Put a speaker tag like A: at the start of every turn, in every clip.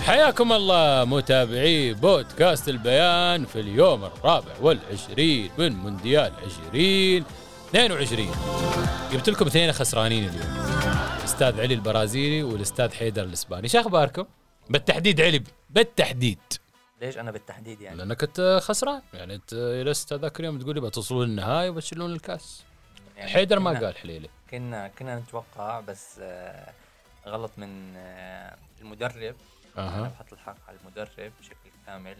A: حياكم الله متابعي بودكاست البيان في اليوم الرابع والعشرين من مونديال 2022 جبت لكم اثنين خسرانين اليوم الاستاذ علي البرازيلي والاستاذ حيدر الاسباني شو اخباركم بالتحديد علي بالتحديد
B: ليش انا بالتحديد يعني
A: لانك انت خسران يعني انت لست هذاك اليوم تقول لي بتصلون النهائي وبتشيلون الكاس
B: يعني
A: حيدر ما
B: كنا-
A: قال حليله
B: كنا كنا نتوقع بس آه، غلط من آه، المدرب انا
A: اها
B: بحط الحق على المدرب بشكل كامل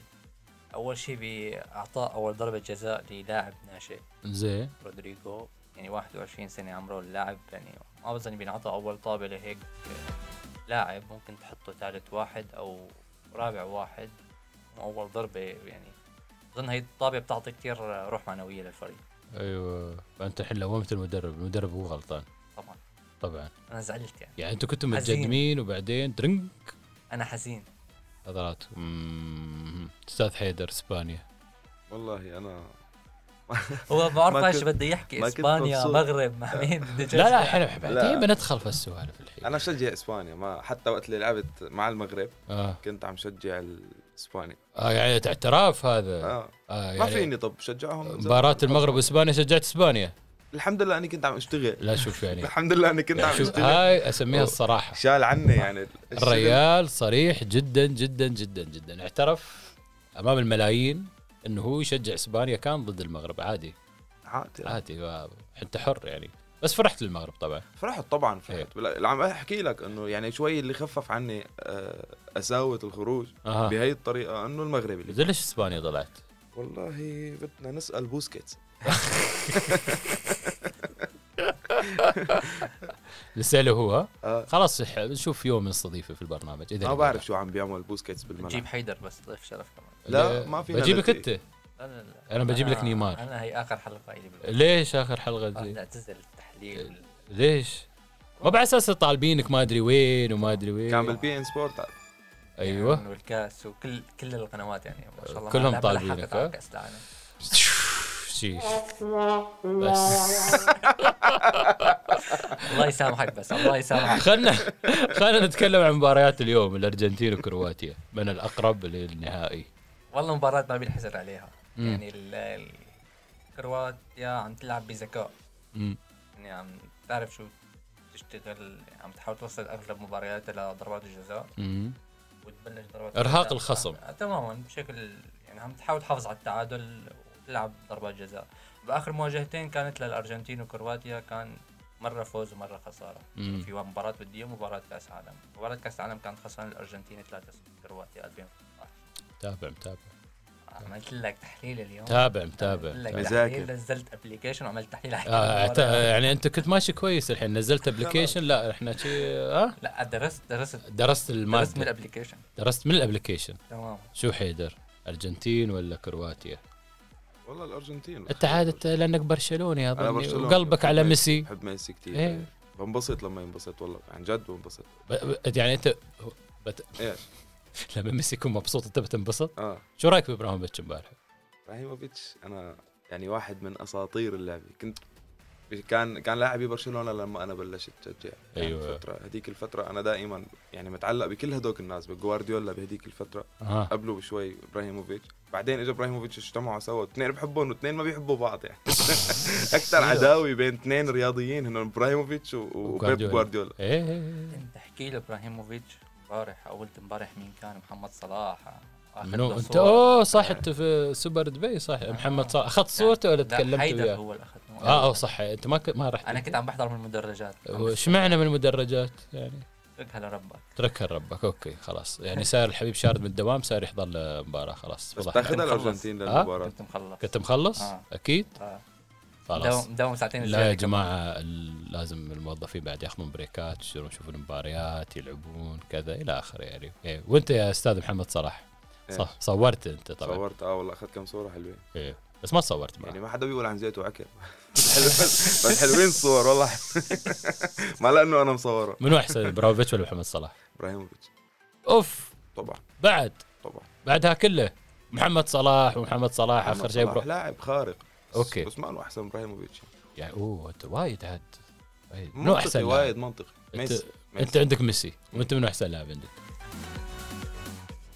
B: اول شيء باعطاء اول ضربه جزاء للاعب ناشئ
A: زين
B: رودريجو يعني 21 سنه عمره اللاعب يعني ما بظن بينعطى اول طابه لهيك آه، لاعب ممكن تحطه ثالث واحد او رابع واحد مو اول ضربه يعني اظن هي الطابه بتعطي كثير روح معنويه للفريق
A: ايوه فانت الحين لومت المدرب المدرب هو غلطان
B: طبعا
A: طبعا
B: انا زعلت يعني
A: يعني انتم كنتم
B: حزين.
A: متقدمين وبعدين درنك
B: انا حزين
A: عضلات أمم. استاذ حيدر اسبانيا
C: والله انا
B: هو ما بعرف
C: ما
B: ايش
C: كنت-
B: بده يحكي
C: ما كنت
B: اسبانيا
C: مبسوط.
B: مغرب مع مين بده يشجع.
A: لا لا حلو بعدين
C: لا.
A: بندخل في السوالف الحين
C: انا بشجع اسبانيا ما حتى وقت اللي لعبت مع المغرب
A: آه.
C: كنت عم شجع الاسباني
A: آه يعني اعتراف هذا
C: آه.
A: آه
C: ما
A: يعني
C: فيني طب شجعهم
A: مباراة المغرب واسبانيا شجعت اسبانيا
C: الحمد لله اني كنت عم اشتغل
A: لا شوف يعني
C: الحمد لله اني كنت عم
A: شوف
C: اشتغل
A: هاي اسميها الصراحة
C: شال عني يعني الشغل.
A: الريال صريح جدا جدا جدا جدا اعترف امام الملايين انه هو يشجع اسبانيا كان ضد المغرب عادي
C: عادي
A: عادي ما- انت حر يعني بس فرحت للمغرب طبعا
C: فرحت طبعا
A: إيه.
C: فرحت بلا- عم احكي لك انه يعني شوي اللي خفف عني آه، قساوه الخروج
A: اها
C: بهي الطريقه انه المغرب اللي
A: آه. زين ليش اسبانيا طلعت؟
C: والله بدنا نسال بوسكيتس
A: نساله هو ها؟
C: آه.
A: خلاص ح- نشوف يوم نستضيفه في البرنامج اذا
C: ما
A: نقدر.
C: بعرف شو عم بيعمل بوسكيتس
B: بتجيب
C: بالملعب
B: حيدر بس ضيف شرف كمان
C: لا، ما فينا
A: بجيبك
C: نلتقي.
A: انت
B: لا لا لا
A: أنا بجيب لك نيمار.
B: انا هي اخر حلقه الي بالبودكاست.
A: ليش اخر حلقه
B: بدي
A: دي؟
B: اعتزل التحليل
A: ليش؟ ما بعد اساس طالبينك ما ادري وين وما ادري وين
C: كان بالبي ان سبورت
A: ايوه
B: والكاس وكل كل القنوات يعني ما شاء الله
A: كلهم
B: ما- ما
A: طالبينك،
B: لحقت
A: ها؟
B: على كأس العالم.
C: يعني.
A: شيش بس
B: الله يسامحك بس الله يسامحك
A: خلنا خلنا نتكلم عن مباريات اليوم الارجنتين وكرواتيا من الاقرب للنهائي
B: والله مباراة ما بينحسد عليها يعني ال- ال- كرواتيا عم تلعب بذكاء
A: مم.
B: يعني عم تعرف شو تشتغل عم تحاول توصل اغلب مبارياتها لضربات الجزاء
A: مم.
B: وتبلش ضربات
A: إرهاق
B: الجزاء.
A: الخصم.
B: آه، تماما بشكل يعني عم تحاول تحافظ على التعادل وتلعب ضربات جزاء باخر مواجهتين كانت للارجنتين وكرواتيا كان مره فوز ومره خساره
A: مم.
B: في مباراه وديه ومباراه كاس عالم مباراه كاس عالم كانت خسران الارجنتين 3-0 كرواتيا 2015
A: تابع متابع
B: عملت لك تحليل اليوم
A: تابع متابع
B: عملت لك
C: مذاكر.
B: تحليل نزلت ابلكيشن وعملت تحليل على
A: طيب. آه أعت-
B: المباراة.
A: يعني انت كنت ماشي كويس الحين نزلت ابلكيشن لا احنا شي ها
B: لا درست درست
A: درست
B: درست من
A: الماده
B: الابلكيشن
A: درست من الابلكيشن
B: تمام
A: شو حيدر ارجنتين ولا كرواتيا
C: والله الارجنتين
A: انت عاد أنت لانك برشلوني
C: أنا
A: اظني
C: برشلوني.
A: يعني وقلبك على
C: بحب-
A: ميسي
C: بحب ميسي كثير
A: إيه.
C: بنبسط لما ينبسط والله عن جد بنبسط
A: ب- ب- يعني انت بت...
C: ايش؟
A: لما ميسي يكون مبسوط انت بتنبسط
C: اه
A: شو رايك بابراهيموفيتش امبارح؟
C: ابراهيموفيتش انا يعني واحد من اساطير اللعبه كنت كان كان لاعبي برشلونه لما انا بلشت اشجع يعني
A: أيوة.
C: الفتره هذيك الفتره انا دائما يعني متعلق بكل هدوك الناس بجوارديولا بهذيك الفتره
A: آه.
C: قبله بشوي ابراهيموفيتش بعدين اجى ابراهيموفيتش اجتمعوا سوا اثنين بحبهم واثنين ما بيحبوا بعض يعني اكثر
A: أيوة.
C: عداوه بين اثنين رياضيين هن ابراهيموفيتش و- وبيب
A: وغوارديولا.
C: جوارديولا
A: ايه إيه.
B: انت احكي له ابراهيموفيتش امبارح او قلت امبارح مين كان محمد صلاح أخذ
A: منو
B: له
A: انت
B: صورة.
A: اوه صح انت في سوبر دبي صح محمد صلاح اخذت صورته ولا
B: آه. لا،
A: تكلمت
B: حيدر
A: وياه؟
B: هو اللي اخذ منه.
A: اه اه صح انت ما ك... ما رحت
B: انا كنت عم بحضر من المدرجات
A: وش معنى من المدرجات يعني؟
B: اتركها لربك
A: اتركها لربك اوكي خلاص يعني صار الحبيب شارد من الدوام صار يحضر له مباراه خلاص
C: بس
A: فضحت.
C: تاخذها
B: خلص.
C: الارجنتين
A: آه؟
C: للمباراه
B: كنت مخلص
A: كنت مخلص؟
B: آه.
A: اكيد
B: آه.
A: خلاص
B: دوم دوم ساعتين
A: لا يا
B: زيادة.
A: جماعة ال- لازم الموظفين بعد ياخذون بريكات يصيرون يشوفون المباريات يلعبون كذا إلى آخره يعني إيه. وأنت يا أستاذ محمد صلاح صح صورت انت طبعا صور.
C: صورت اه والله اخذت كم صوره حلوين
A: إيه. بس ما تصورت معه
C: يعني ما حدا بيقول عن زيت وعكر بس حلوين- بس حلوين الصور والله ما لانه انا مصوره
A: منو احسن ابراهيموفيتش ولا محمد صلاح؟
C: ابراهيموفيتش
A: اوف
C: طبعا
A: بعد
C: طبعا
A: بعدها كله محمد صلاح ومحمد صلاح
C: محمد
A: اخر شيء
C: صلاح
A: برو...
C: لاعب خارق بس-
A: أوكي.
C: بس ما انه احسن من ابراهيموفيتش
A: يعني اوه انت وايد عاد إيه، وايد. منو
C: منطقي
A: احسن لاعب؟
C: وايد منطقي
A: انت
C: ميسي
A: انت
C: ميسي
A: عندك ميسي وانت منو احسن لاعب عندك؟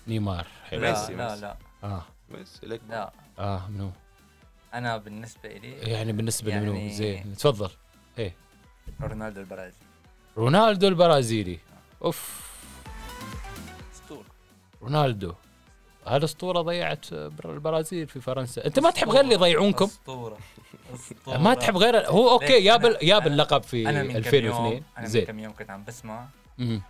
A: نيمار حلو
B: لا
C: ميسي،
B: لا
C: ميسي.
B: لا
A: اه
C: ميسي لك
B: لا
A: اه منو؟
B: انا بالنسبه لي
A: يعني بالنسبه يعني... لمنو
B: يعني-
A: زين تفضل ايه
B: رونالدو البرازيلي
A: رونالدو البرازيلي اوف
B: اسطوره
A: رونالدو هذا اسطوره ضيعت بر- البرازيل في فرنسا انت ما تحب غير اللي يضيعونكم
B: اسطوره اسطوره
A: ما تحب غير هو اوكي جاب ال-
B: أنا-
A: جاب
B: أنا-
A: اللقب في
B: انا من كم يوم
A: 2002
B: انا من
A: زين
B: كم يوم كنت عم بسمع
A: مم.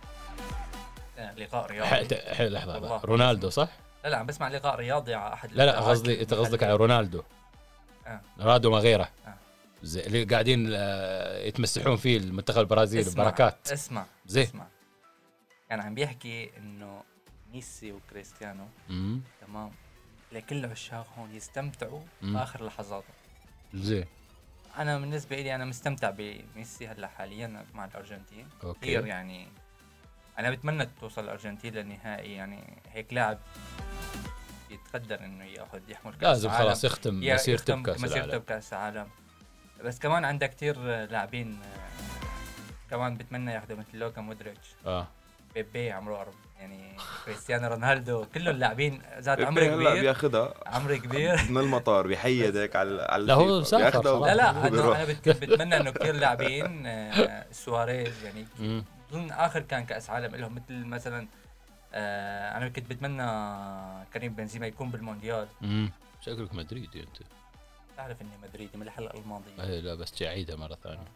B: آه، لقاء
A: ح-
B: رياضي
A: ت- ح- لحظه لحظة.
B: والله.
A: رونالدو صح؟
B: لا لا عم بسمع لقاء رياضي على احد
A: لا لا
B: الإذاعات
A: قصدي انت قصدك على
B: المحلية.
A: رونالدو
B: آه.
A: رونالدو ما غيره
B: آه.
A: زي اللي قاعدين آه، يتمسحون فيه المنتخب البرازيلي
B: اسمع،
A: بركات
B: اسمع
A: زين.
B: اسمع كان عم بيحكي انه ميسي وكريستيانو
A: مم.
B: تمام لكل عشاق هون يستمتعوا
A: مم.
B: باخر لحظاتهم
A: زين
B: انا بالنسبه لي انا مستمتع بميسي هلا حاليا مع الارجنتين كثير
A: اوكي
B: يعني انا بتمنى توصل الارجنتين للنهائي يعني هيك لاعب يتقدر انه ياخذ يحمل كاس
A: لازم
B: العالم.
A: خلاص يختم
B: يا-
A: مسيرته
B: يختم
A: بكاس
B: مسيرته
A: العالم
B: بكاس العالم بس كمان عندها كثير لاعبين آه، كمان بتمنى ياخذوا مثل لوكا مودريتش
A: اه
B: بيبي عمره أرب- يعني كريستيانو رونالدو كلهم لاعبين ذات
C: بيبي
B: عمر
C: هلا
B: كبير
C: بياخذها
B: عمر كبير
C: من المطار بيحيد هيك على على
A: لا، هو
C: الفيفا.
A: مسافر
C: بياخدها
A: خلاص.
B: لا لا
C: وبيروح.
B: انا انا بت- بتمنى انه كثير لاعبين آه، سواريز يعني
A: مم.
B: اظن اخر كان كاس عالم لهم مثل مثلا آه، انا كنت بتمنى كريم بنزيما يكون بالمونديال
A: مم. شكلك مدريدي انت
B: تعرف اني مدريدي من الحلقه الماضيه
A: إيه، لا بس جاي اعيدها مره ثانيه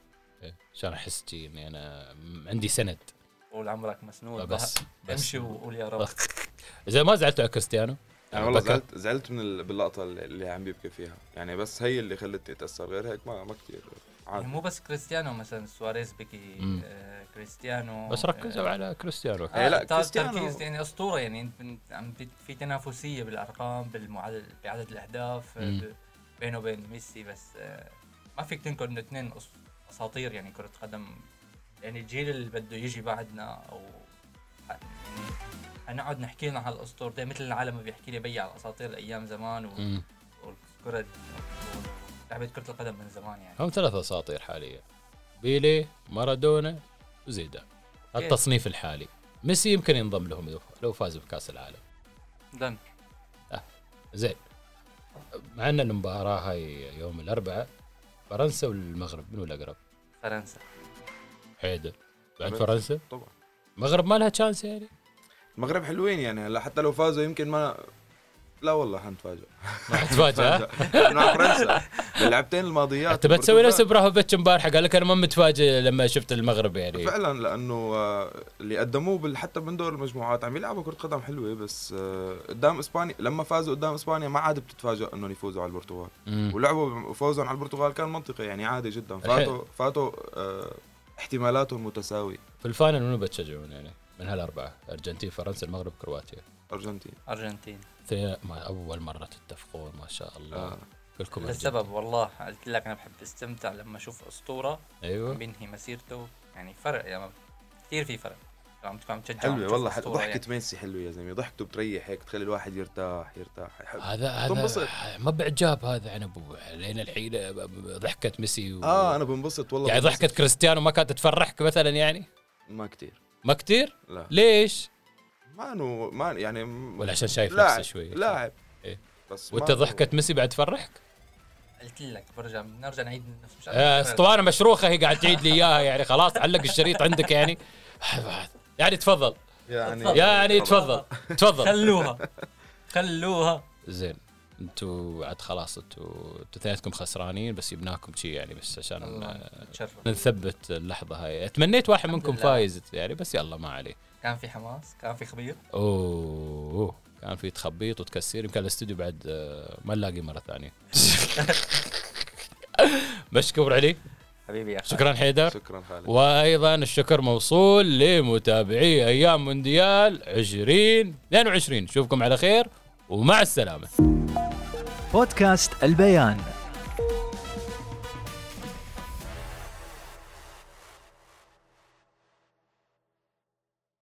A: إيه، عشان احس جي اني انا م- عندي سند
B: قول عمرك مسنود
A: آه، بس
B: بقى.
A: بس
B: امشي وقول يا رب
A: زين ما زعلت على كريستيانو
C: انا يعني والله
A: بكى.
C: زعلت زعلت من ال- باللقطه اللي- اللي عم بيبكي فيها يعني بس هي اللي خلتني اتاثر غير هيك ما ما كثير
B: يعني
C: عادي
B: مو بس كريستيانو مثلا سواريز بكي
A: مم.
B: آه، كريستيانو
A: بس ركزوا على كريستيانو
C: إيه، لا،
B: لا
C: كريستيانو.
B: تركيز يعني اسطوره يعني انت بن- عم بت- في تنافسيه بالارقام بالمعدل بعدد الاهداف آه،
A: مم.
B: ب- بينه وبين ميسي بس آه، ما فيك تنكر انه اثنين أس- اساطير يعني كره قدم يعني الجيل اللي بده يجي بعدنا او ح- يعني حنقعد نحكي لنا على الاسطورتين مثل العالم ما بيحكي لي بي على الاساطير ايام زمان و...
A: مم.
B: والكره لعبه كره القدم من زمان يعني
A: هم ثلاثة اساطير حاليا بيلي مارادونا وزيدان التصنيف الحالي ميسي يمكن ينضم لهم لو- لو فاز بكاس العالم أه.
B: دن
A: زين مع ان المباراه هاي يوم الاربعاء فرنسا والمغرب منو الاقرب؟
B: فرنسا
A: حيدر بعد
C: فرنسا.
A: فرنسا
C: طبعا
A: المغرب ما لها تشانس يعني
C: المغرب حلوين يعني هلا حتى لو فازوا يمكن ما لا والله حنتفاجئ
A: ما تتفاجئ
C: مع فرنسا باللعبتين الماضيات
A: انت بتسوي نفس
C: البرتغال.
A: ابراهيموفيتش امبارح قال لك انا ما متفاجئ لما شفت المغرب يعني
C: فعلا لانه آه، اللي قدموه بال- حتى من دور المجموعات عم يلعبوا كره قدم حلوه بس آه، قدام اسبانيا لما فازوا قدام اسبانيا ما عاد بتتفاجئ انهم يفوزوا على البرتغال
A: مم.
C: ولعبوا فوزهم على البرتغال كان منطقي يعني عادي جدا
A: الحين.
C: فاتوا فاتوا آه، احتمالاتهم متساوية
A: في الفاينل منو بتشجعون يعني من هالاربعه الارجنتين فرنسا المغرب كرواتيا
C: ارجنتين
B: ارجنتين
A: اثنين ما اول مره تتفقون ما شاء الله
C: آه.
A: كلكم أرجنتين.
B: للسبب والله قلت لك انا بحب استمتع لما اشوف اسطوره
C: أيوة.
A: ايوه
B: بينهي مسيرته يعني فرق يعني كثير في فرق عم تكون عم تشجع عم
C: حلوة
B: تشوف
C: والله حلوة
B: أسطورة يعني.
C: ضحكة ميسي حلوة يا زلمة ضحكته بتريح هيك تخلي الواحد يرتاح يرتاح يحب.
A: هذا
C: تنبسط.
A: هذا ما بعجاب هذا يعني عن ابوه لين الحين ضحكه ميسي و...
C: اه انا بنبسط والله
A: يعني
C: بنبسط.
A: ضحكه كريستيانو ما كانت تفرحك مثلا يعني
C: ما كتير
A: ما كثير
C: لا
A: ليش؟
C: ما انه ما يعني م-
A: ولا عشان شايف
C: لاعب
A: نفسه شوي
C: لاعب
A: إيه.
C: بس
A: وانت
C: ما إنه-
A: ضحكه ميسي بعد تفرحك؟
B: يعني. قلت لك برجع بنرجع نعيد من نفس مش عارف.
A: آه، اسطوانه مشروخه هي قاعد تعيد لي اياها يعني خلاص علق الشريط عندك يعني يعني تفضل
C: يعني
A: يعني تفضل تفضل
B: خلوها خلوها
A: زين انتوا عاد خلاص انتوا انتوا اثنيناتكم خسرانين بس جبناكم شي يعني بس عشان آه،
B: الله نتشرف
A: نثبت اللحظه هاي اتمنيت واحد منكم
B: لله.
A: فايز يعني بس يلا ما عليه
B: كان في حماس كان في خبير
A: اوه كان في تخبيط وتكسير يمكن الاستوديو بعد آه، ما نلاقي مره ثانيه مشكور علي
B: حبيبي يا خالد
A: شكرا حيدر
C: شكرا خالد
A: وايضا الشكر موصول لمتابعي ايام مونديال 20 22 نشوفكم على خير ومع السلامه
D: بودكاست البيان